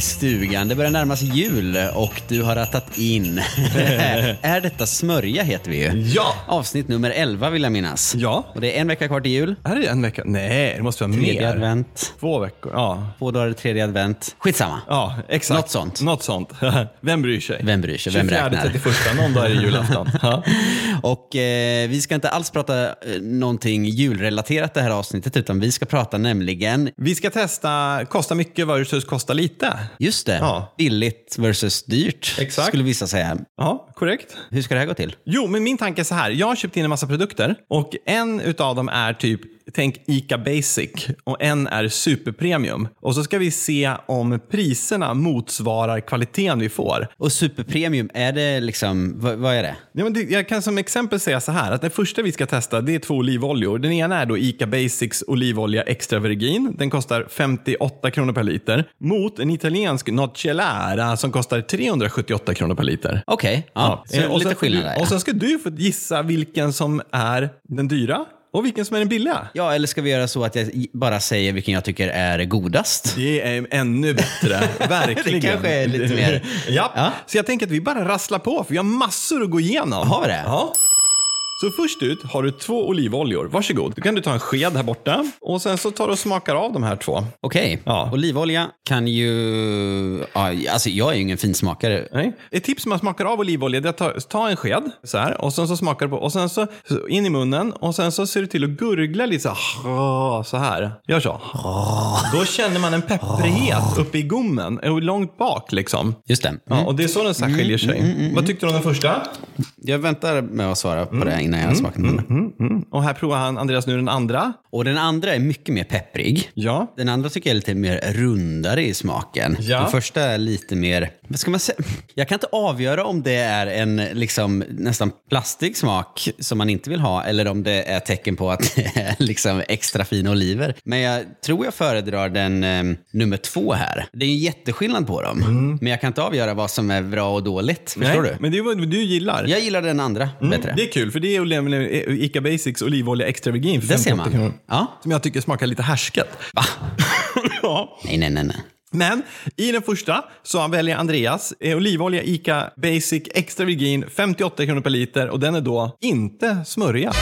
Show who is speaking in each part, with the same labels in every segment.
Speaker 1: stugan. Det börjar närma sig jul och du har rattat in. är detta smörja heter vi ju.
Speaker 2: Ja!
Speaker 1: Avsnitt nummer 11 vill jag minnas.
Speaker 2: Ja.
Speaker 1: Och det är en vecka kvar till jul.
Speaker 2: Här är det en vecka. Nej, det måste vara
Speaker 1: Tredje
Speaker 2: mer.
Speaker 1: advent.
Speaker 2: Två veckor. Ja.
Speaker 1: Två dagar till tredje advent. Skitsamma.
Speaker 2: Ja, exakt.
Speaker 1: Något sånt.
Speaker 2: Något sånt. Vem bryr sig?
Speaker 1: Vem bryr sig? Vem
Speaker 2: 24,
Speaker 1: räknar?
Speaker 2: 31, någon dag är det julafton. Ja.
Speaker 1: Och eh, vi ska inte alls prata eh, någonting julrelaterat det här avsnittet utan vi ska prata nämligen,
Speaker 2: Vi ska testa kosta mycket versus kosta lite.
Speaker 1: just det,
Speaker 2: Ja.
Speaker 1: billigt versus dyrt
Speaker 2: Exakt.
Speaker 1: skulle vissa säga.
Speaker 2: Ja, korrekt.
Speaker 1: Hur ska det här gå till?
Speaker 2: Jo, men min tanke är så här. Jag har köpt in en massa produkter och en utav dem är typ, tänk ICA Basic och en är superpremium. Och så ska vi se om priserna motsvarar kvaliteten vi får.
Speaker 1: Och superpremium, är det liksom, vad, vad är det?
Speaker 2: Ja, men det, jag kan som exempel säga så här att den första vi ska testa det är två olivoljor. Den ena är då ICA Basics olivolja extra virgin. Den kostar 58 kronor per liter mot en italiensk Nocciolera som kostar 378 kronor per liter.
Speaker 1: Okej, ja,
Speaker 2: Eh,
Speaker 1: så lite
Speaker 2: sen får
Speaker 1: skillnad
Speaker 2: du,
Speaker 1: där.
Speaker 2: Och
Speaker 1: ja.
Speaker 2: sen ska du få gissa vilken som är den dyra och vilken som är den billiga.
Speaker 1: Ja, eller ska vi göra så att jag i- bara säger vilken jag tycker är godast?
Speaker 2: Det är ännu bättre, verkligen.
Speaker 1: Det kanske är lite mer-
Speaker 2: ja.
Speaker 1: Ja.
Speaker 2: Så jag tänker att vi bara rasslar på, för vi har massor att gå igenom.
Speaker 1: Har vi det?
Speaker 2: Ja. Så först ut har du två olivoljor. Varsågod. Då kan du ta en sked här borta och sen så tar du och smakar av de här två.
Speaker 1: Okej,
Speaker 2: Ja.
Speaker 1: olivolja kan ju... Ja, alltså jag är ju ingen finsmakare.
Speaker 2: Nej. Ett tips när man smakar av olivolja det är att ta, ta en sked så här och sen så smakar du på och sen så så in i munnen och sen så ser du till att gurgla lite så här. Så här. Gör så. Då känner man en pepprighet uppe i gommen och långt bak liksom.
Speaker 1: Just det. Mm.
Speaker 2: Ja, och det är så den så här skiljer sig. Vad tyckte du om den första?
Speaker 1: Jag väntar med att svara på
Speaker 2: Mm.
Speaker 1: det innan jag smakar den.
Speaker 2: Och här provar han, Andreas, nu den andra.
Speaker 1: Och den andra är mycket mer pepprig.
Speaker 2: Ja.
Speaker 1: Den andra tycker jag är lite mer rundare i smaken.
Speaker 2: Ja.
Speaker 1: Den första är lite mer, vad ska man säga? Jag kan inte avgöra om det är en liksom, nästan plastig smak som man inte vill ha eller om det är tecken på att det är liksom extra fina oliver. Men jag tror jag föredrar den eh, nummer två här. Det är ju jätteskillnad på dem. Men jag kan inte avgöra vad som är bra och dåligt. Förstår
Speaker 2: Mm.
Speaker 1: du?
Speaker 2: Nej, Men det är vad du gillar.
Speaker 1: Jag gillar den andra bättre.
Speaker 2: Det är kul, för det är Ole- Ica Basics olivolja extra virgin. för
Speaker 1: Det ser
Speaker 2: 58 kronor.
Speaker 1: man. Ja.
Speaker 2: Som jag tycker smakar lite härsket.
Speaker 1: Va?
Speaker 2: ja.
Speaker 1: Nej, nej, nej. nej.
Speaker 2: Men i den första så väljer Andreas eh, olivolja ICA Basic Extra Virgin 58 kronor per liter och den är då inte smörja.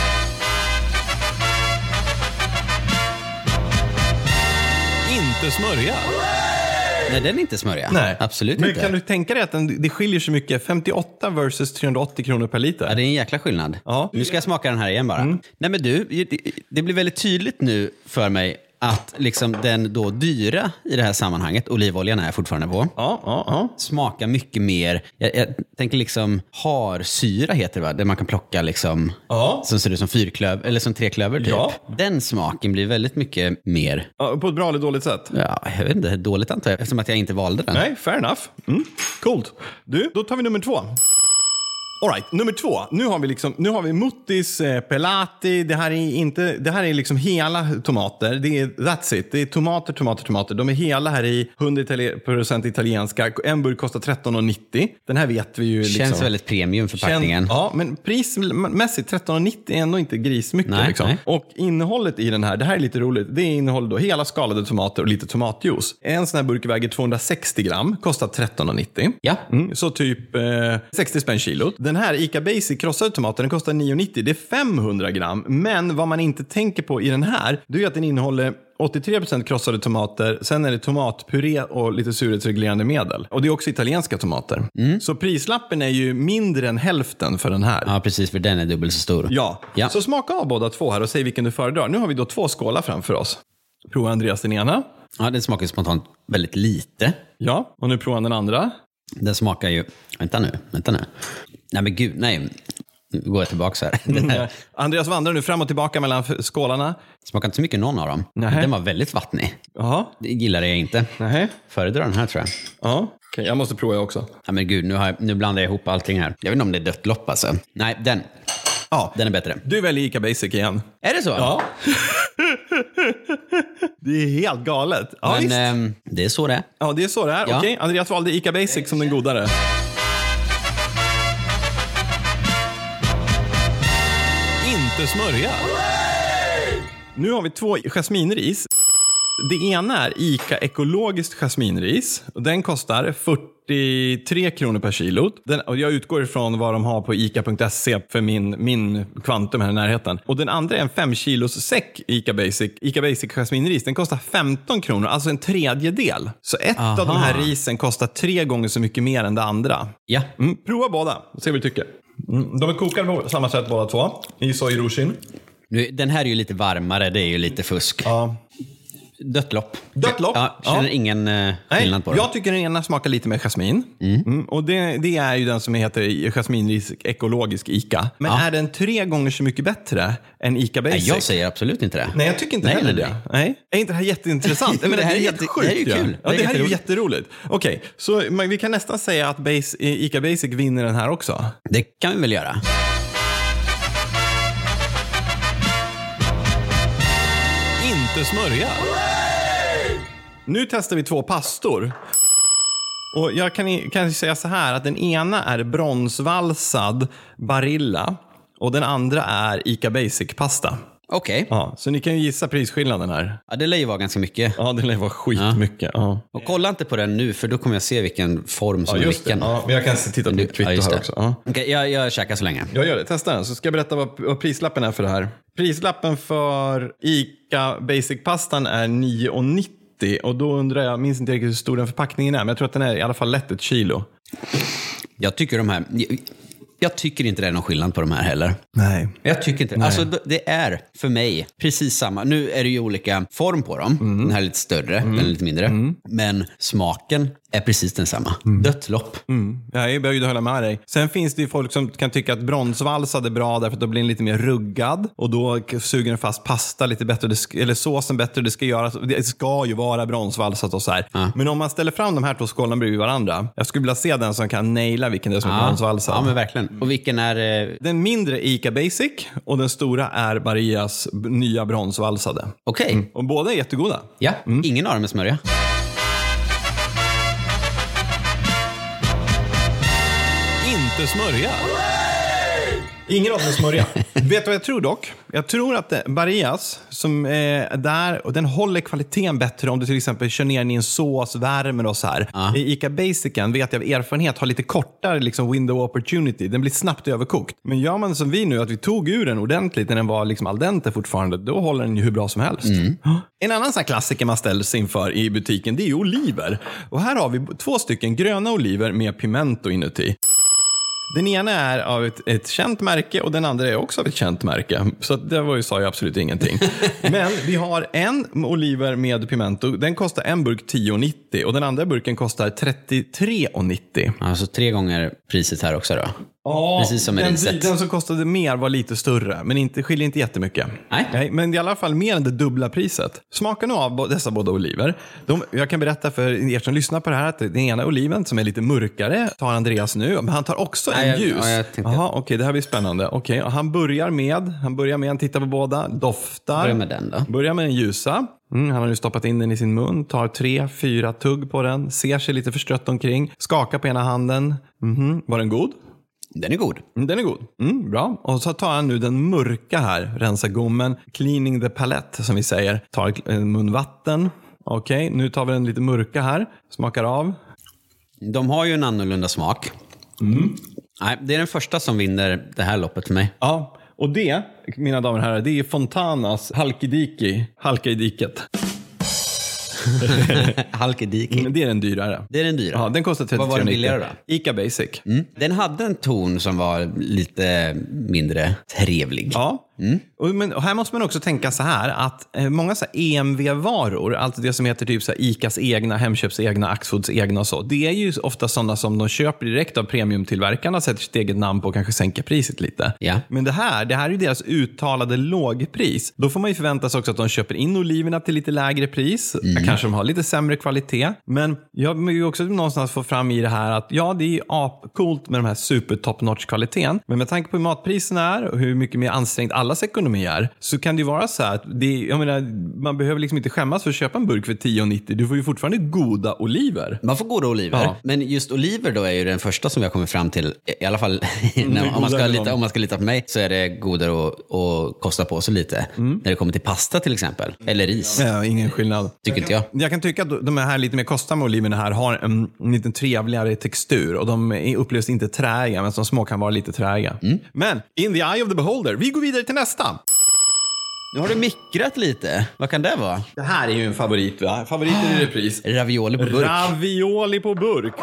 Speaker 2: Inte smörja?
Speaker 1: Nej, den är inte smörja. Absolut
Speaker 2: Men
Speaker 1: inte.
Speaker 2: Kan du tänka dig att den, det skiljer så mycket? 58 versus 380 kronor per liter.
Speaker 1: Ja, det är en jäkla skillnad.
Speaker 2: Ja. Mm.
Speaker 1: Nu ska jag smaka den här igen bara. Nej men du, det- det blir väldigt tydligt nu för mig att liksom den då dyra i det här sammanhanget, olivoljan är jag fortfarande på,
Speaker 2: Ja, ja, ja.
Speaker 1: smakar mycket mer, jag, jag tänker liksom harsyra heter det va? Där man kan plocka liksom,
Speaker 2: Ja.
Speaker 1: som ser ut som fyrklöv, eller som treklöver typ.
Speaker 2: Ja.
Speaker 1: Den smaken blir väldigt mycket mer,
Speaker 2: Ja, På ett bra eller dåligt sätt?
Speaker 1: ja, jag vet inte, dåligt antar jag, eftersom att jag inte valde den.
Speaker 2: Nej, fair enough. Mm. Coolt. Du, då tar vi nummer två. Alright, nummer två. Nu har vi, liksom, nu har vi muttis, eh, pelati. Det här, är inte, det här är liksom hela tomater. Det är, that's it. Det är tomater, tomater, tomater. De är hela här i 100% italienska. En burk kostar 13,90. Den här vet vi ju. Liksom.
Speaker 1: Känns väldigt premium förpackningen.
Speaker 2: Känn- Ja, men prismässigt 13,90 är ändå inte grismycket.
Speaker 1: Nej,
Speaker 2: liksom.
Speaker 1: nej.
Speaker 2: Och innehållet i den här, det här är lite roligt, det innehåller då hela skalade tomater och lite tomatjuice. En sån här burk väger 260 gram, kostar 13,90.
Speaker 1: Ja.
Speaker 2: Mm, så typ eh, 60 spänn kilot. Den här ICA Basic krossade tomaten den kostar 9,90. Det är 500 gram. Men vad man inte tänker på i den här, det är ju att den innehåller 83% krossade tomater, sen är det tomatpuré och lite surhetsreglerande medel. Och det är också italienska tomater. Så prislappen är ju mindre än hälften för den här.
Speaker 1: ja, precis, för den är dubbelt så stor.
Speaker 2: Ja.
Speaker 1: Ja.
Speaker 2: så smaka av båda två här och säg vilken du föredrar. Nu har vi då två skålar framför oss. Prova Andreas den ena.
Speaker 1: Ja, den smakar spontant väldigt lite.
Speaker 2: Ja, och nu provar han den andra.
Speaker 1: Den smakar ju... Vänta nu, vänta nu. Nej men gud, nej. Nu går jag tillbaka så här.
Speaker 2: Mm,
Speaker 1: Den här
Speaker 2: Eh, Andreas vandrar nu fram och tillbaka mellan f- skålarna.
Speaker 1: smakar inte så mycket någon av dem.
Speaker 2: Nej.
Speaker 1: Den var väldigt vattnig.
Speaker 2: Jaha.
Speaker 1: Det gillar jag inte.
Speaker 2: Nej.
Speaker 1: Föredrar den här tror jag.
Speaker 2: Ja. Okej, jag måste prova jag också.
Speaker 1: Nej men gud, nu, har jag, nu blandar jag ihop allting här. Jag vet inte om det är dött lopp alltså. Nej, den.
Speaker 2: Ja.
Speaker 1: Den är bättre.
Speaker 2: Du väljer ICA Basic igen.
Speaker 1: Är det så? Ja.
Speaker 2: Det är helt galet. Ja,
Speaker 1: Men
Speaker 2: visst.
Speaker 1: ehm, det är så det är.
Speaker 2: eh, ja det är så det är.
Speaker 1: ja.
Speaker 2: Okej, Andreas valde ICA Basic som den godare. Inte smörja. Nu har vi två jasminris. Det ena är ICA ekologiskt jasminris. Och Den kostar 43 kronor per kilo. Den, och jag utgår ifrån vad de har på ICA.se för min, min kvantum här i närheten. Och den andra är en 5 kilos säck ICA Basic, ICA Basic jasminris. Den kostar 15 kronor, alltså en tredjedel. Så ett av de här risen kostar tre gånger så mycket mer än det andra.
Speaker 1: Ja.
Speaker 2: Mm, prova båda och se vad du tycker. Mm, de är kokade på samma sätt båda två. I sojroshin.
Speaker 1: Nu, den här är ju lite varmare, det är ju lite fusk.
Speaker 2: Ja.
Speaker 1: Dött lopp.
Speaker 2: Dött lopp?
Speaker 1: Ja, känner
Speaker 2: Ja.
Speaker 1: ingen eh,
Speaker 2: Nej,
Speaker 1: skillnad på det.
Speaker 2: jag tycker den ena smakar lite mer jasmin. Mm, och det, det är ju den som heter jasminris ekologisk ICA. Men är den tre gånger så mycket bättre än ICA
Speaker 1: Nej,
Speaker 2: Basic?
Speaker 1: jag säger absolut inte det.
Speaker 2: Nej, jag tycker inte
Speaker 1: Nej,
Speaker 2: heller
Speaker 1: nej,
Speaker 2: det. Nej. Är inte det här jätteintressant? Jag menar,
Speaker 1: Det här är
Speaker 2: helt
Speaker 1: jätte-
Speaker 2: sjukt
Speaker 1: det här är ju kul.
Speaker 2: Ja,
Speaker 1: Det
Speaker 2: det,
Speaker 1: är
Speaker 2: här är ju jätteroligt. Okej, så man, vi kan nästan säga att base, ICA Basic vinner den här också.
Speaker 1: Det kan vi väl göra.
Speaker 2: Inte smörja. Nu testar vi två pastor. Och jag kan, i- kan säga så här att den ena är bronsvalsad Barilla och den andra är Ica Basic-pasta.
Speaker 1: Okej.
Speaker 2: Ja, så ni kan ju gissa prisskillnaden här.
Speaker 1: Ja, det lär ju vara ganska mycket.
Speaker 2: Ja, det lär vara skitmycket. Ja.
Speaker 1: Och kolla inte på den nu, för då kommer jag se vilken form som är
Speaker 2: just det.
Speaker 1: vilken.
Speaker 2: Ja, men jag kan se- titta på
Speaker 1: Du-
Speaker 2: mitt kvitto
Speaker 1: ja, just
Speaker 2: här
Speaker 1: det.
Speaker 2: också. Ja.
Speaker 1: Okej, jag, jag käkar så länge.
Speaker 2: Jag gör det. Testa den, så ska jag berätta vad, vad prislappen är för det här. Prislappen för ICA Basic-pastan är 9,90 och då undrar jag, minns inte riktigt hur stor den förpackningen är, men jag tror att den är i alla fall lätt ett kilo.
Speaker 1: Jag tycker de här... Jag, jag tycker inte det är någon skillnad på de här heller.
Speaker 2: Nej.
Speaker 1: Jag tycker inte det. Alltså, det är för mig precis samma. Nu är det ju olika form på dem.
Speaker 2: Mm.
Speaker 1: Den här är lite större, den är lite mindre. Men smaken är precis densamma.
Speaker 2: Mm.
Speaker 1: Dött lopp.
Speaker 2: Ja, jag är böjd att hålla med dig. Sen finns det ju folk som kan tycka att bronsvalsad är bra därför att då blir den lite mer ruggad och då suger den fast pasta lite bättre, det sk- eller såsen bättre. Det ska, göras, det ska ju vara bronsvalsat och så här. Men om man ställer fram de här två skålarna bredvid varandra. Jag skulle vilja se den som kan naila vilken det är som är bronsvalsad.
Speaker 1: Ja, men verkligen. Och vilken är... eh,
Speaker 2: Den mindre Ica Basic och den stora är Barias b- nya bronsvalsade.
Speaker 1: Okej.
Speaker 2: Och båda är jättegoda.
Speaker 1: Ja,
Speaker 2: Mm.
Speaker 1: ingen av dem är smörja.
Speaker 2: Inte smörja. Ingen av dem är smörja. Vet du vad jag tror dock? Jag tror att eh, Barias, som är där, och den håller kvaliteten bättre om du till exempel kör ner den i en sås, värmer och så här. I Ica Basicen vet jag av erfarenhet har lite kortare liksom, window opportunity. Den blir snabbt överkokt. Men gör man som vi nu, att vi tog ur den ordentligt när den var liksom al dente fortfarande, då håller den ju hur bra som helst. En annan sån här klassiker man ställs inför i butiken, det är ju oliver. Och här har vi b- två stycken gröna oliver med pimento inuti. Den ena är av ett, ett känt märke och den andra är också av ett känt märke. Så att det var ju, sa jag absolut ingenting. Men vi har en oliver med pimento. Den kostar en burk 10,90 och den andra burken kostar 33,90.
Speaker 1: Alltså tre gånger priset här också då.
Speaker 2: Ja,
Speaker 1: Precis som med
Speaker 2: den,
Speaker 1: riset.
Speaker 2: den som kostade mer var lite större, men inte, skiljer inte jättemycket.
Speaker 1: Nej.
Speaker 2: men det är i alla fall mer än det dubbla priset. Smaka nu av bo- dessa båda oliver. De, jag kan berätta för er som lyssnar på det här att den ena oliven som är lite mörkare tar Andreas nu, men han tar också en
Speaker 1: Nej, jag-
Speaker 2: ljus.
Speaker 1: ja, jag tänkte-
Speaker 2: Aha, okej, det här blir spännande. Okej, och han börjar med, han börjar med, han tittar på båda, doftar.
Speaker 1: Börja med den då.
Speaker 2: Börja med den ljusa. Mm, han har nu stoppat in den i sin mun, tar tre, fyra tugg på den, ser sig lite förstrött omkring, skakar på ena handen. Mhm, Var den god?
Speaker 1: Den är god.
Speaker 2: Mm, Den är god. Mm, bra. Och så tar han nu den mörka här, rensa gommen, cleaning the palette som vi säger. Tar eh, munvatten. Okej, nu tar vi den lite mörka här. Smakar av.
Speaker 1: De har ju en annorlunda smak.
Speaker 2: Mm.
Speaker 1: Nej, det är den första som vinner det här loppet för mig.
Speaker 2: Ja, och det, mina damer och herrar, det är Fontanas halkidiki. Halka i diket.
Speaker 1: Halkediki.
Speaker 2: Men det är den dyrare.
Speaker 1: Det är den dyra.
Speaker 2: Ja, den kostar 33
Speaker 1: Vad var den billigare då?
Speaker 2: Ica Basic.
Speaker 1: Mm. Den hade en ton som var lite mindre trevlig.
Speaker 2: Ja, och, men, och här måste man också tänka så här att eh, många så här EMV-varor, alltså det som heter typ så här ICAs egna, Hemköps egna, Axfoods egna och så, det är ju ofta sådana som de köper direkt av premiumtillverkarna, sätter sitt eget namn på och kanske sänker priset lite.
Speaker 1: Ja.
Speaker 2: Men det här, det här är ju deras uttalade lågpris. Då får man ju förvänta sig också att de köper in oliverna till lite lägre pris. Kanske de har lite sämre kvalitet. Men jag vill ju också någonstans få fram i det här att ja, det är ju apcoolt med de här super top notch kvaliteten. Men med tanke på hur matpriserna är och hur mycket mer ansträngt all allas ekonomi är, så kan det ju vara så här att det, jag menar, man behöver liksom inte skämmas för att köpa en burk för 10,90. Du får ju fortfarande goda oliver.
Speaker 1: Man får goda oliver,
Speaker 2: Ja.
Speaker 1: men just oliver då är ju den första som jag kommer fram till, i alla fall när, om, man ska
Speaker 2: Mm, godare än
Speaker 1: lita,
Speaker 2: dem.
Speaker 1: om man ska lita på mig, så är det godare att, att kosta på sig lite. När det kommer till pasta till exempel, eller ris,
Speaker 2: Mm. Ja, ingen skillnad.
Speaker 1: tycker inte jag.
Speaker 2: Jag kan tycka att de här lite mer kostsamma oliverna här har en, en lite trevligare textur och de är- upplevs inte träiga, men som små kan vara lite träiga. Men in the eye of the beholder, vi går vidare till nästa.
Speaker 1: Nu har du mikrat lite, vad kan det vara?
Speaker 2: Det här är ju en favorit, va? Favoriter i repris.
Speaker 1: Ravioli på burk.
Speaker 2: Ravioli på burk.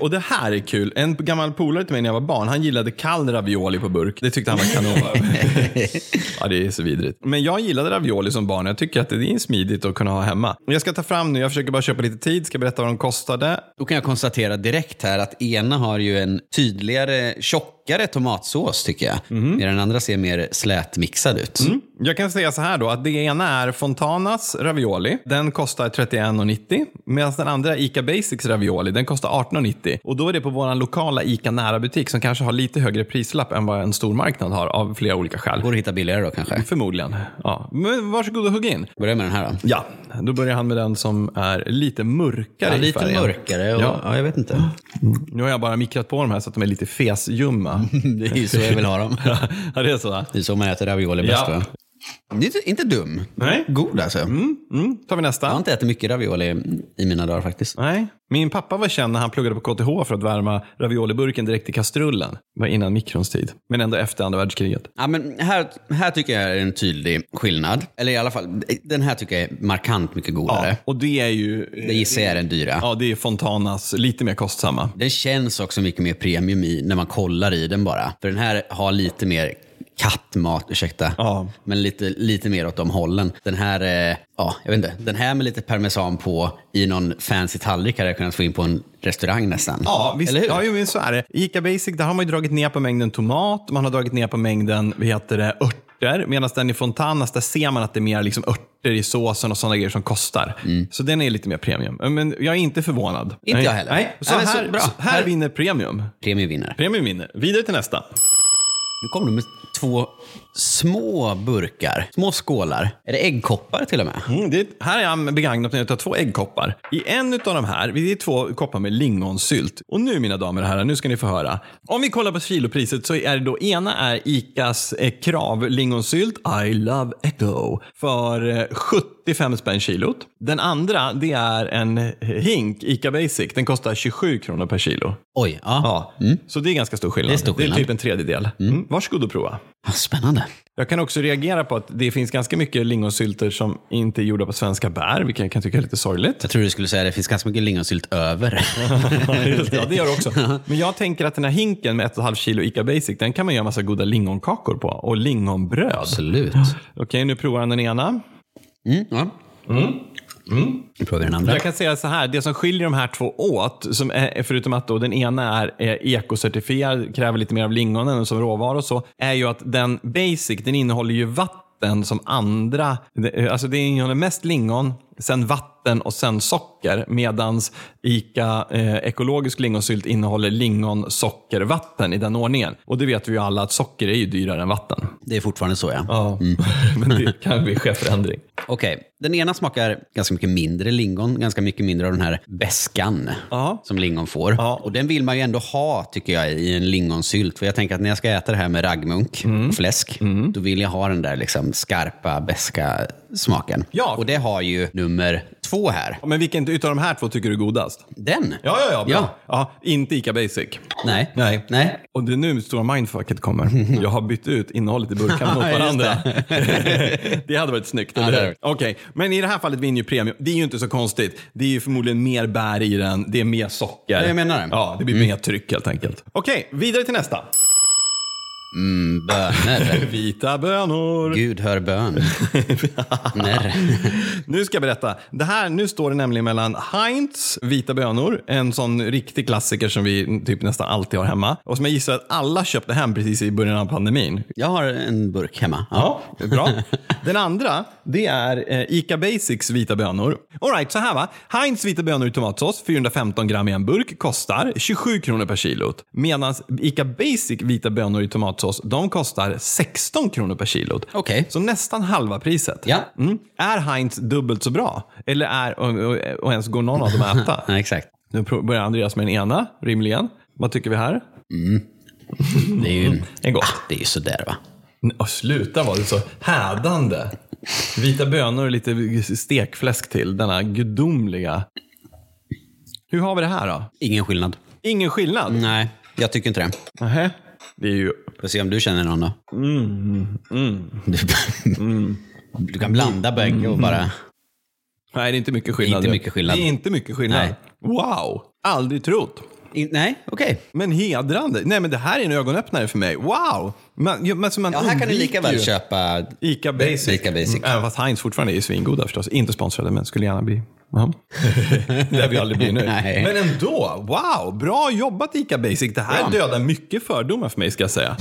Speaker 2: Och det här är kul. En gammal polare till mig när jag var barn, han gillade kall ravioli på burk. Det tyckte han var kanon. ja, det är så vidrigt. Men jag gillade ravioli som barn. Jag tycker att det är smidigt att kunna ha hemma. Jag ska ta fram nu, jag försöker bara köpa lite tid, ska berätta vad de kostade.
Speaker 1: Då kan jag konstatera direkt här att ena har ju en tydligare, tjockare tomatsås tycker jag. Medan den andra ser mer slätmixad ut.
Speaker 2: Jag kan säga så här då, att det ena är Fontanas ravioli. Den kostar 31,90. Medan den andra är ICA Basics ravioli. Den kostar 18,90. Och då är det på vår lokala ICA nära-butik som kanske har lite högre prislapp än vad en stor marknad har av flera olika skäl.
Speaker 1: Går att hitta billigare då kanske.
Speaker 2: Förmodligen. Ja. Men varsågod och hugg in.
Speaker 1: Börja med den här då.
Speaker 2: Ja, då börjar han med den som är lite mörkare
Speaker 1: Ja,
Speaker 2: i
Speaker 1: lite
Speaker 2: färgen.
Speaker 1: mörkare och, Mm. ja.
Speaker 2: Ja.
Speaker 1: jag vet inte.
Speaker 2: Nu har jag bara mikrat på de här så att de är lite fesljumma.
Speaker 1: Det är ju så jag vill ha dem.
Speaker 2: ja, det är så. va?
Speaker 1: Det är så man äter ravioli bäst
Speaker 2: Ja.
Speaker 1: va? Det är inte- inte dum.
Speaker 2: Nej.
Speaker 1: God alltså.
Speaker 2: Mm, tar vi nästa.
Speaker 1: Jag har inte ätit mycket ravioli i mina dagar faktiskt.
Speaker 2: Nej. Min pappa var känd när han pluggade på KTH för att värma ravioliburken direkt i kastrullen. Det var innan mikrons tid, men ändå efter andra världskriget.
Speaker 1: Ja, men här, här tycker jag är en tydlig skillnad. Eller i alla fall, den här tycker jag är markant mycket godare.
Speaker 2: Ja, och det är ju...
Speaker 1: Det gissar jag är den dyra.
Speaker 2: Ja, det är Fontanas lite mer kostsamma.
Speaker 1: Den känns också mycket mer premium i när man kollar i den bara. För den här har lite mer kattmat, ursäkta.
Speaker 2: Ja.
Speaker 1: Men lite, lite mer åt de hållen. Den här, eh, ja, jag vet inte. Den här med lite parmesan på i någon fancy tallrik hade jag kunnat få in på en restaurang nästan.
Speaker 2: Ja, visst.
Speaker 1: Eller hur?
Speaker 2: Ja, jo, men så är det. I Ica Basic, där har man ju dragit ner på mängden tomat, man har dragit ner på mängden, vad heter det, örter. Medan den i Fontanas, där ser man att det är mer liksom örter i såsen och sådana grejer som kostar. Så den är lite mer premium. Men jag är inte förvånad. Inte
Speaker 1: Mm. jag heller.
Speaker 2: Nej, så,
Speaker 1: Nej, men så
Speaker 2: här, så
Speaker 1: bra.
Speaker 2: här
Speaker 1: Här-
Speaker 2: vinner premium.
Speaker 1: Premium vinner.
Speaker 2: Premium vinner. Vidare till nästa.
Speaker 1: Nu kommer du med två små burkar, små skålar. Är det äggkoppar till och med?
Speaker 2: Mm, det, här är jag begagnat mig av två äggkoppar. I en av de här, det är två koppar med lingonsylt. Och nu mina damer och herrar, nu ska ni få höra. Om vi kollar på kilopriset så är det då ena är ICAs eh, krav lingonsylt, I love echo, för eh, 75 spänn kilot. Den andra, det är en eh, hink, ICA Basic. Den kostar 27 kronor per kilo.
Speaker 1: Oj, ja.
Speaker 2: Ja, så det är ganska stor skillnad.
Speaker 1: Mm. Det är stor skillnad.
Speaker 2: det är typ en tredjedel. Mm. Varsågod och prova.
Speaker 1: Ah, Spännande.
Speaker 2: Jag kan också reagera på att det finns ganska mycket lingonsylter som inte är gjorda på svenska bär, vilket jag kan tycka är lite sorgligt.
Speaker 1: Jag tror du skulle säga att det finns ganska mycket lingonsylt över.
Speaker 2: Just det, ja, det gör det också. Men jag tänker att den här hinken med 1,5 kilo ICA Basic, den kan man göra massa goda lingonkakor på och lingonbröd.
Speaker 1: Absolut.
Speaker 2: Okej, nu provar han den ena.
Speaker 1: Mm, ja.
Speaker 2: Mm.
Speaker 1: Nu provar vi den andra.
Speaker 2: Jag kan säga så här, det som skiljer de här två åt, som är, förutom att då den ena är eh, ekocertifierad, kräver lite mer av lingonen som råvara och så, är ju att den basic, den innehåller ju vatten som andra, det- alltså det innehåller mest lingon, sen vatten och sen socker, medans ICA eh, ekologisk lingonsylt innehåller lingon, socker, vatten i den ordningen. Och det vet vi ju alla att socker är ju dyrare än vatten. Mm.
Speaker 1: Det är fortfarande så ja.
Speaker 2: Ja, men det kan bli cheförändring.
Speaker 1: Okej, den ena smakar ganska mycket mindre lingon, ganska mycket mindre av den här beskan
Speaker 2: Ja.
Speaker 1: som lingon får.
Speaker 2: Ja.
Speaker 1: Och den vill man ju ändå ha tycker jag i en lingonsylt. För jag tänker att när jag ska äta det här med raggmunk
Speaker 2: Mm.
Speaker 1: och fläsk, då vill jag ha den där liksom skarpa beska smaken.
Speaker 2: Ja.
Speaker 1: Och det har ju nummer två här.
Speaker 2: Men vilken utav de här två tycker du är godast?
Speaker 1: Den?
Speaker 2: Ja, ja, ja. Bra.
Speaker 1: Ja.
Speaker 2: Ja. inte ICA Basic.
Speaker 1: Nej.
Speaker 2: Nej.
Speaker 1: Nej.
Speaker 2: Och det är nu stora mindfucket kommer. Jag har bytt ut innehållet i burkarna mot
Speaker 1: Just
Speaker 2: varandra. det hade varit snyggt.
Speaker 1: det
Speaker 2: eller
Speaker 1: hade
Speaker 2: hur? Okej, men i det här fallet vinner ju premium. Det är ju inte så konstigt. Det är ju förmodligen mer bär i den. Det är mer socker.
Speaker 1: Ja, jag Mm. menar det.
Speaker 2: Ja, det blir mer tryck helt enkelt. Okej, vidare till nästa.
Speaker 1: Mm, bönor.
Speaker 2: Vita bönor.
Speaker 1: Gud hör bön. När.
Speaker 2: Nu ska jag berätta. Det här, nu står det nämligen mellan Heinz vita bönor, en sån riktig klassiker som vi typ nästan alltid har hemma och som jag gissar att alla köpte hem precis i början av pandemin.
Speaker 1: Jag har en burk hemma. Ja.
Speaker 2: Ja, bra. Den andra, det är eh, Ica Basics vita bönor. All right, så här va. Heinz vita bönor i tomatsås, 415 gram i en burk, kostar 27 kronor per kilo. Medan Ica Basic vita bönor i tomatsås tomatsås, de kostar 16 kronor per kilo.
Speaker 1: Okej.
Speaker 2: Så nästan halva priset.
Speaker 1: Ja.
Speaker 2: Mm. Är Heinz dubbelt så bra? Eller är, och, och, och ens går någon av dem att äta?
Speaker 1: Ja, exakt.
Speaker 2: Nu pro- börjar Andreas med den ena, rimligen. Vad tycker vi här?
Speaker 1: Det är ju, Ah,
Speaker 2: En gott.
Speaker 1: Mm. det är ju sådär va.
Speaker 2: Och sluta vara så hädande. Vita bönor och lite stekfläsk till, denna gudomliga. Hur har vi det här då?
Speaker 1: Ingen skillnad.
Speaker 2: Ingen skillnad?
Speaker 1: Nej, jag tycker inte det.
Speaker 2: Nähä. Det är ju...
Speaker 1: Får se om du känner någon då.
Speaker 2: Mm,
Speaker 1: Du, du kan blanda bägge och
Speaker 2: Mm.
Speaker 1: bara...
Speaker 2: Nej, det är inte mycket skillnad.
Speaker 1: Inte mycket skillnad.
Speaker 2: Det är inte mycket skillnad.
Speaker 1: Nej.
Speaker 2: Wow! Aldrig trott.
Speaker 1: I, nej, okej.
Speaker 2: Men hedrande. Nej, men det här är en ögonöppnare för mig. Wow! Man, ju- men, så man
Speaker 1: Ja, här kan du
Speaker 2: undviker
Speaker 1: lika väl
Speaker 2: ju
Speaker 1: köpa...
Speaker 2: Ica Basic.
Speaker 1: Ica Basic.
Speaker 2: Mm, även fast Heinz fortfarande är ju svingoda förstås. Inte sponsrade, men skulle gärna bli. Ja. det lär vi aldrig bli nu.
Speaker 1: Nej.
Speaker 2: Men ändå, wow! Bra jobbat Ica Basic. Det här
Speaker 1: Ja.
Speaker 2: dödar mycket fördomar för mig ska jag säga.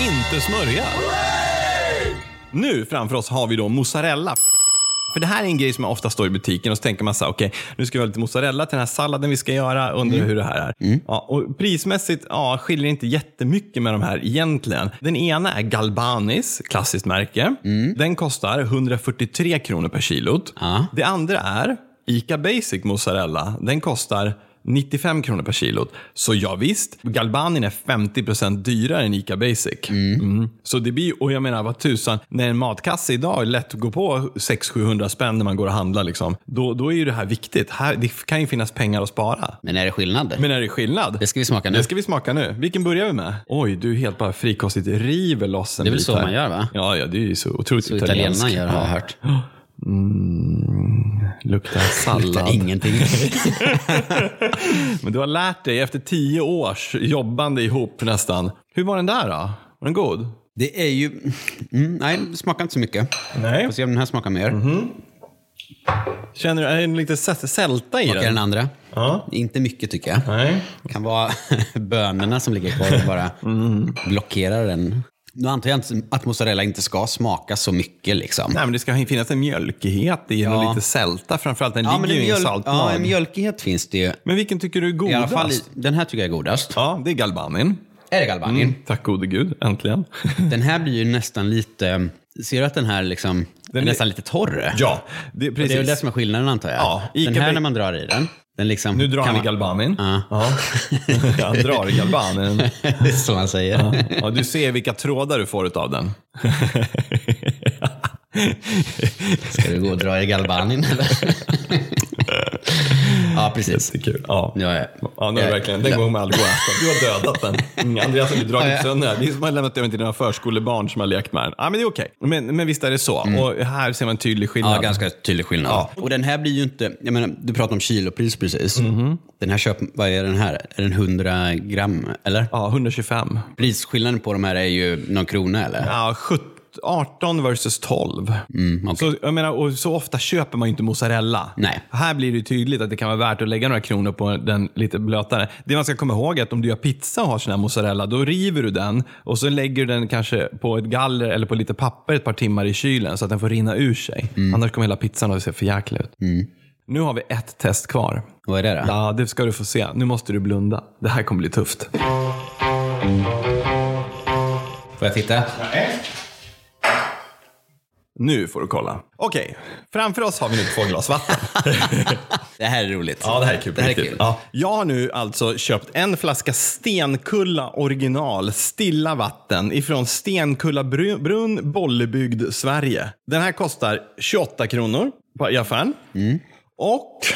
Speaker 2: Inte smörja. Nu framför oss har vi då mozzarella. För det här är en grej som jag ofta står i butiken och så tänker man så här, okej, nu ska vi ha lite mozzarella till den här salladen vi ska göra, undrar hur det här är. Ja, och prismässigt ja, skiljer inte jättemycket med de här egentligen. Den ena är Galbanis, klassiskt märke. Den kostar 143 kronor per kilot.
Speaker 1: Ja.
Speaker 2: Det andra är Ica Basic mozzarella. Den kostar 95 kronor per kilot. Så ja, visst, Galbanin är 50 dyrare än Ica Basic. Mm. Så det blir ju- och jag menar vad tusan, när en matkasse idag är lätt att gå på 600-700 spänn när man går och handlar, liksom, då, då är ju det här viktigt. Här, det kan ju finnas pengar att spara.
Speaker 1: Men är det skillnad?
Speaker 2: Men är det skillnad?
Speaker 1: Det ska vi smaka nu.
Speaker 2: Det ska vi smaka nu. Vilken börjar vi med? Oj, du helt bara frikostigt river loss en
Speaker 1: Det är väl
Speaker 2: bit
Speaker 1: så
Speaker 2: här.
Speaker 1: man gör, va?
Speaker 2: Ja, ja, det är ju så otroligt
Speaker 1: Så
Speaker 2: italiensk.
Speaker 1: italienarna gör har jag hört.
Speaker 2: Luktar
Speaker 1: Luktar
Speaker 2: sallad.
Speaker 1: ingenting.
Speaker 2: Men du har lärt dig efter tio års jobbande ihop nästan. Hur var den där då? Var den god?
Speaker 1: Det är ju... Mm, nej, smakar inte så mycket.
Speaker 2: Nej.
Speaker 1: Får se om den här smakar mer.
Speaker 2: Mhm. Känner du, är det en liten sä- sälta i
Speaker 1: Smakar den
Speaker 2: den?
Speaker 1: andra?
Speaker 2: Ja.
Speaker 1: Inte mycket tycker jag.
Speaker 2: Nej.
Speaker 1: Det kan vara bönorna som ligger kvar och bara blockerar den. Nu antar jag inte att mozzarella inte ska smaka så mycket liksom.
Speaker 2: Nej, men det ska finnas en mjölkighet i den och lite sälta framförallt. Den
Speaker 1: Ja, men
Speaker 2: ligger ju
Speaker 1: en,
Speaker 2: i en
Speaker 1: mjöl- ja,
Speaker 2: saltlag.
Speaker 1: en mjölkighet finns det ju.
Speaker 2: men vilken tycker du är godast?
Speaker 1: I alla fall, i- den här tycker jag är godast.
Speaker 2: Ja, det är Galbanin.
Speaker 1: Är det galbanin?
Speaker 2: Tack gode gud, äntligen.
Speaker 1: Den här blir ju nästan lite... Ser du att den här liksom
Speaker 2: Mm.
Speaker 1: är
Speaker 2: Den är-
Speaker 1: nästan lite torr?
Speaker 2: ja, det, precis.
Speaker 1: Det är väl det som är skillnaden antar jag.
Speaker 2: Ja, Ica
Speaker 1: den här
Speaker 2: Ba-
Speaker 1: när man drar i den, den liksom...
Speaker 2: Nu drar
Speaker 1: kan
Speaker 2: han i
Speaker 1: man-
Speaker 2: Galbanin.
Speaker 1: Ja.
Speaker 2: Han drar i Galbanin.
Speaker 1: Det är så man säger.
Speaker 2: Ja, du ser vilka trådar du får av den.
Speaker 1: Ska du gå och dra i galbanin eller? ja, precis.
Speaker 2: Det är kul. Ja.
Speaker 1: Nu har jag...
Speaker 2: Ja, nu är det verkligen. Den gången man aldrig går att äta. Du har dödat den. Mm, Andreas har ju dragit sönder den. Det är som att man lämnat över till dina förskolebarn som har lekt med den. Ja, men det är okej. Men, men visst är det så. Och här ser man en tydlig skillnad.
Speaker 1: Ja, ganska tydlig skillnad. Och den här blir ju inte... Jag menar, du pratade om kilopris precis.
Speaker 2: Mhm.
Speaker 1: Den här köp... Vad är den här? Är den 100 gram, eller?
Speaker 2: Ja, 125.
Speaker 1: Prisskillnaden på de här är ju någon krona, eller?
Speaker 2: Ja, 17. 18 versus 12. så, jag menar, och så ofta köper man ju inte mozzarella.
Speaker 1: Nej.
Speaker 2: Här blir det ju tydligt att det kan vara värt att lägga några kronor på den lite blötare. Det man ska komma ihåg är att om du gör pizza och har sån här mozzarella, då river du den och så lägger du den kanske på ett galler eller på lite papper ett par timmar i kylen så att den får rinna ur sig. Annars kommer hela pizzan att se för jäkla ut. Nu har vi ett test kvar.
Speaker 1: Vad är det då?
Speaker 2: Ja, det ska du få se. Nu måste du blunda. Det här kommer bli tufft.
Speaker 1: Får jag titta?
Speaker 2: Nu får du kolla. Okej, framför oss har vi nu två glas vatten.
Speaker 1: Det här är roligt.
Speaker 2: Ja, det här är kul. på
Speaker 1: Det här är
Speaker 2: riktigt.
Speaker 1: kul.
Speaker 2: Ja. Jag har nu alltså köpt en flaska Stenkulla original stilla vatten ifrån Stenkulla bru- brunn, Bollebygd, Sverige. Den här kostar 28 kronor på- i affären.
Speaker 1: Mm.
Speaker 2: Och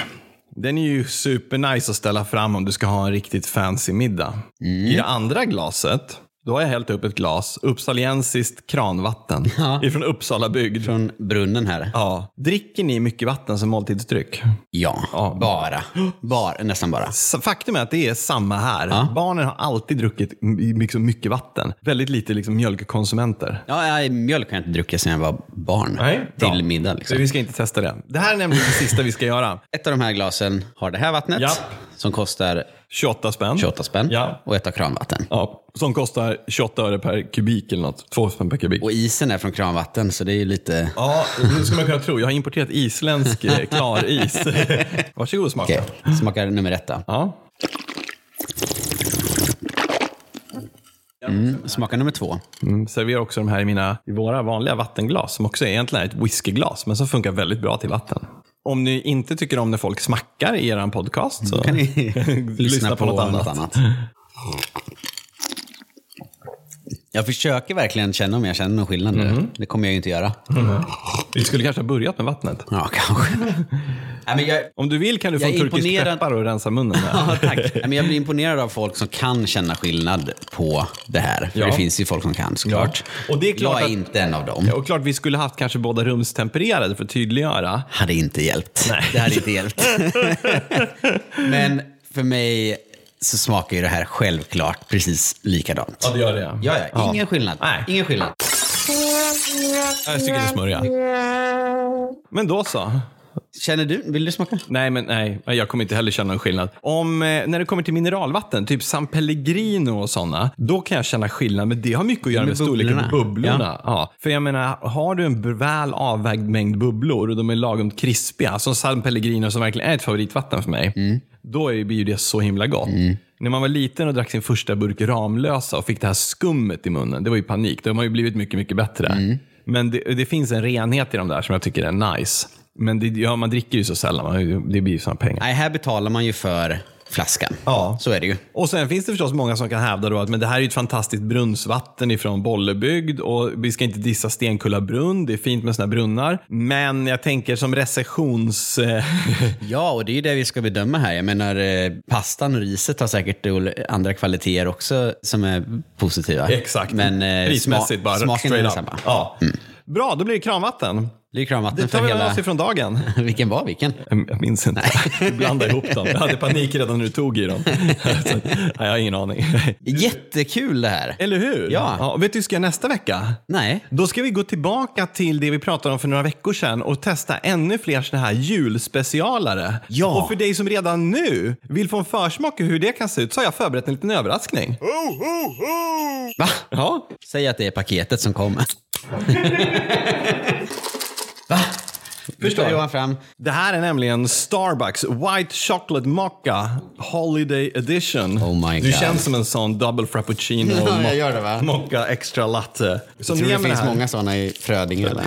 Speaker 2: den är ju supernice att ställa fram om du ska ha en riktigt fancy middag.
Speaker 1: Mm.
Speaker 2: I det andra glaset då har jag hällt upp ett glas uppsaliensiskt kranvatten ifrån Uppsala bygd.
Speaker 1: Från brunnen här.
Speaker 2: Ja. Dricker ni mycket vatten som måltidsdryck?
Speaker 1: Ja, bara. Bara, nästan bara.
Speaker 2: S- Faktum är att det är samma här. Barnen har alltid druckit m- liksom mycket vatten. Väldigt lite liksom mjölkkonsumenter.
Speaker 1: Ja, nej, mjölk har jag inte druckit sedan jag var barn.
Speaker 2: Bra.
Speaker 1: Till middag
Speaker 2: Så
Speaker 1: liksom.
Speaker 2: vi ska inte testa det. Det här är nämligen det sista vi ska göra.
Speaker 1: Ett av de här glasen har det här vattnet
Speaker 2: Ja.
Speaker 1: som kostar
Speaker 2: 28 spänn.
Speaker 1: 28 spänn
Speaker 2: Ja.
Speaker 1: och ett av kranvatten.
Speaker 2: Ja, som kostar 28 öre per kubik eller något. 2 spänn per kubik.
Speaker 1: Och isen är från kranvatten så det är ju lite...
Speaker 2: Ja, nu skulle man kunna tro. Jag har importerat isländsk eh, klaris. Varsågod och smaka.
Speaker 1: Okej, smakar nummer ett då.
Speaker 2: Ja.
Speaker 1: Mm, smaka nummer två.
Speaker 2: Mm, serverar också de här i, mina, i våra vanliga vattenglas som också egentligen är ett whiskyglas men som funkar väldigt bra till vatten. Om ni inte tycker om när folk smackar i er podcast så
Speaker 1: Mm, kan ni lyssna på något annat. Jag försöker verkligen känna om jag känner någon skillnad nu.
Speaker 2: Mhm.
Speaker 1: Det kommer jag ju inte göra.
Speaker 2: Mm-hmm. Vi skulle kanske ha börjat med vattnet.
Speaker 1: Ja, kanske. Nej, men jag,
Speaker 2: Om du vill kan du få
Speaker 1: Jag
Speaker 2: en
Speaker 1: är
Speaker 2: turkisk
Speaker 1: imponerad-
Speaker 2: peppar och rensa munnen med.
Speaker 1: ja, tack. Nej, men jag blir imponerad av folk som kan känna skillnad på det här. För
Speaker 2: Ja.
Speaker 1: det finns ju folk som kan såklart.
Speaker 2: Och det är klart
Speaker 1: jag är
Speaker 2: att-
Speaker 1: inte en av dem.
Speaker 2: Och klart vi skulle haft kanske båda rumstempererade för att tydliggöra.
Speaker 1: Hade inte hjälpt. Det hade inte hjälpt. men för mig så smakar ju det här självklart precis likadant.
Speaker 2: det gör det.
Speaker 1: Ja, ja. Ingen skillnad.
Speaker 2: Nej.
Speaker 1: Ingen skillnad.
Speaker 2: Jag tycker det är smörja. Men då så.
Speaker 1: Känner du? Vill du smaka?
Speaker 2: Nej, men nej. Jag kommer inte heller känna någon skillnad. Om, eh, när det kommer till mineralvatten, typ San Pellegrino och sådana, då kan jag känna skillnad. Men det har mycket att göra med,
Speaker 1: Med
Speaker 2: storleken på
Speaker 1: bubblorna.
Speaker 2: bubblorna. Ja. För jag menar, har du en b- väl avvägd mängd bubblor och de är lagom krispiga, som San Pellegrino som verkligen är ett favoritvatten för mig, då är- blir ju det så himla gott. När man var liten och drack sin första burk Ramlösa och fick det här skummet i munnen, det var ju panik. De har ju blivit mycket, mycket bättre. Men det, det finns en renhet i de där som jag tycker är nice. Men det, ja, man dricker ju så sällan, man, det blir ju såna pengar.
Speaker 1: Nej, här betalar man ju för flaskan.
Speaker 2: Ja.
Speaker 1: Så är det ju.
Speaker 2: Och sen finns det förstås många som kan hävda då att men det här är ju ett fantastiskt brunnsvatten ifrån Bollebygd och vi ska inte dissa Stenkulla brunn. Det är fint med såna här brunnar. Men jag tänker som recessions... eh,
Speaker 1: Ja, och det är ju det vi ska bedöma här. Jag menar, eh, pastan och riset har säkert ol- andra kvaliteter också som är positiva. Men eh,
Speaker 2: Prismässigt
Speaker 1: sma-
Speaker 2: bara.
Speaker 1: smaken är
Speaker 2: straight up.
Speaker 1: densamma.
Speaker 2: Ja. Bra, då blir det kranvatten.
Speaker 1: Det är
Speaker 2: Det
Speaker 1: kranvatten
Speaker 2: tar
Speaker 1: för
Speaker 2: vi
Speaker 1: hela...
Speaker 2: med oss ifrån dagen.
Speaker 1: Vilken var vilken?
Speaker 2: Jag minns inte. Du blandade ihop dem. Jag hade panik redan när du tog i dem. Så, nej, jag har ingen aning.
Speaker 1: Jättekul det här.
Speaker 2: Eller hur?
Speaker 1: Ja.
Speaker 2: och vet du hur vi ska göra nästa vecka?
Speaker 1: Nej.
Speaker 2: Då ska vi gå tillbaka till det vi pratade om för några veckor sedan och testa ännu fler såna här julspecialare.
Speaker 1: Ja.
Speaker 2: Och för dig som redan nu vill få en försmak av hur det kan se ut så har jag förberett en liten överraskning.
Speaker 1: Va?
Speaker 2: Ja.
Speaker 1: Säg att det är paketet som kommer. Va?
Speaker 2: Förstår.
Speaker 1: Förstår Johan fram.
Speaker 2: Det här är nämligen Starbucks White Chocolate Mocha Holiday Edition.
Speaker 1: Oh my
Speaker 2: du
Speaker 1: God.
Speaker 2: känns som en sån double frappuccino
Speaker 1: Ja, jag
Speaker 2: mo-
Speaker 1: gör det, va?
Speaker 2: mocha extra latte. Som
Speaker 1: Tror
Speaker 2: ni
Speaker 1: det
Speaker 2: med
Speaker 1: finns
Speaker 2: här-
Speaker 1: många sådana i Frödinge? Eller?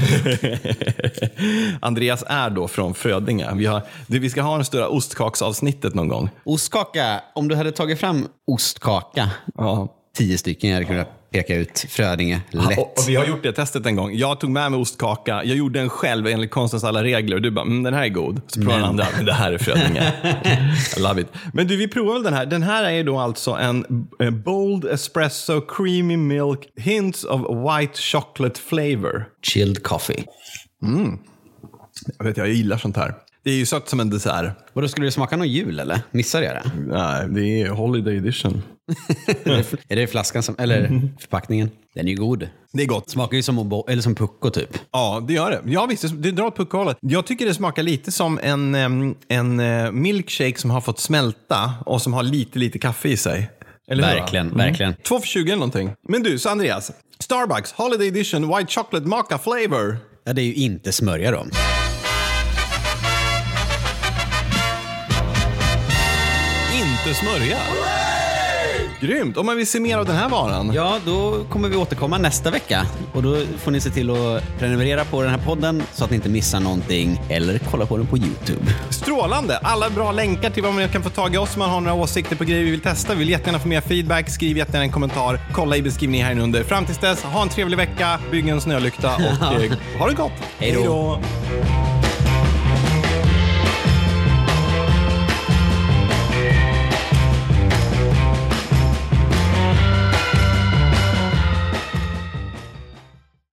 Speaker 2: Andreas är då från Frödinge. Vi, har, du, vi ska ha det stora ostkaksavsnittet någon gång.
Speaker 1: Ostkaka, om du hade tagit fram ostkaka,
Speaker 2: Ja.
Speaker 1: tio stycken, jag hade kunnat peka ut Frödinge lätt.
Speaker 2: Och, och vi har gjort det testet en gång. Jag tog med mig ostkaka. Jag gjorde den själv enligt konstens alla regler. Och du bara, mm, den här är god. Så provar den andra. Det här är Frödinge. I love it. Men du, vi provar väl den här. Den här är då alltså en eh, bold espresso creamy milk hints of white chocolate flavor.
Speaker 1: Chilled coffee.
Speaker 2: Jag vet, jag gillar sånt här. Det är ju sött som en dessert.
Speaker 1: Vadå, skulle du smaka någon jul eller? Missade jag det?
Speaker 2: Nej, det är holiday edition.
Speaker 1: Är det- är det flaskan som, eller
Speaker 2: Mhm.
Speaker 1: förpackningen? Den är ju god.
Speaker 2: Det är gott.
Speaker 1: Smakar ju som, obo, eller som pucko typ.
Speaker 2: Ja, det gör det. Ja, visst, det- det drar åt puckhållet. Jag tycker det smakar lite som en, em, en eh, milkshake som har fått smälta och som har lite, lite kaffe i sig. Eller hur, va?
Speaker 1: Verkligen, verkligen.
Speaker 2: Två för 20 eller någonting. Men du, så Andreas. Starbucks Holiday Edition White Chocolate Maca Flavor.
Speaker 1: Ja, det är ju inte smörja då.
Speaker 2: Inte smörja. Grymt! Om man vill se mer av den här varan.
Speaker 1: Ja, då kommer vi återkomma nästa vecka. Och då får ni se till att prenumerera på den här podden så att ni inte missar någonting. Eller kolla på den på YouTube.
Speaker 2: Strålande! Alla bra länkar till vad man kan få tag i oss om man har några åsikter på grejer vi vill testa. Vi vill jättegärna få mer feedback. Skriv jättegärna en kommentar. Kolla i beskrivningen här under. Fram tills dess, ha en trevlig vecka, bygg en snölykta och eh, ha det gott!
Speaker 1: Hej då.
Speaker 2: Hej då.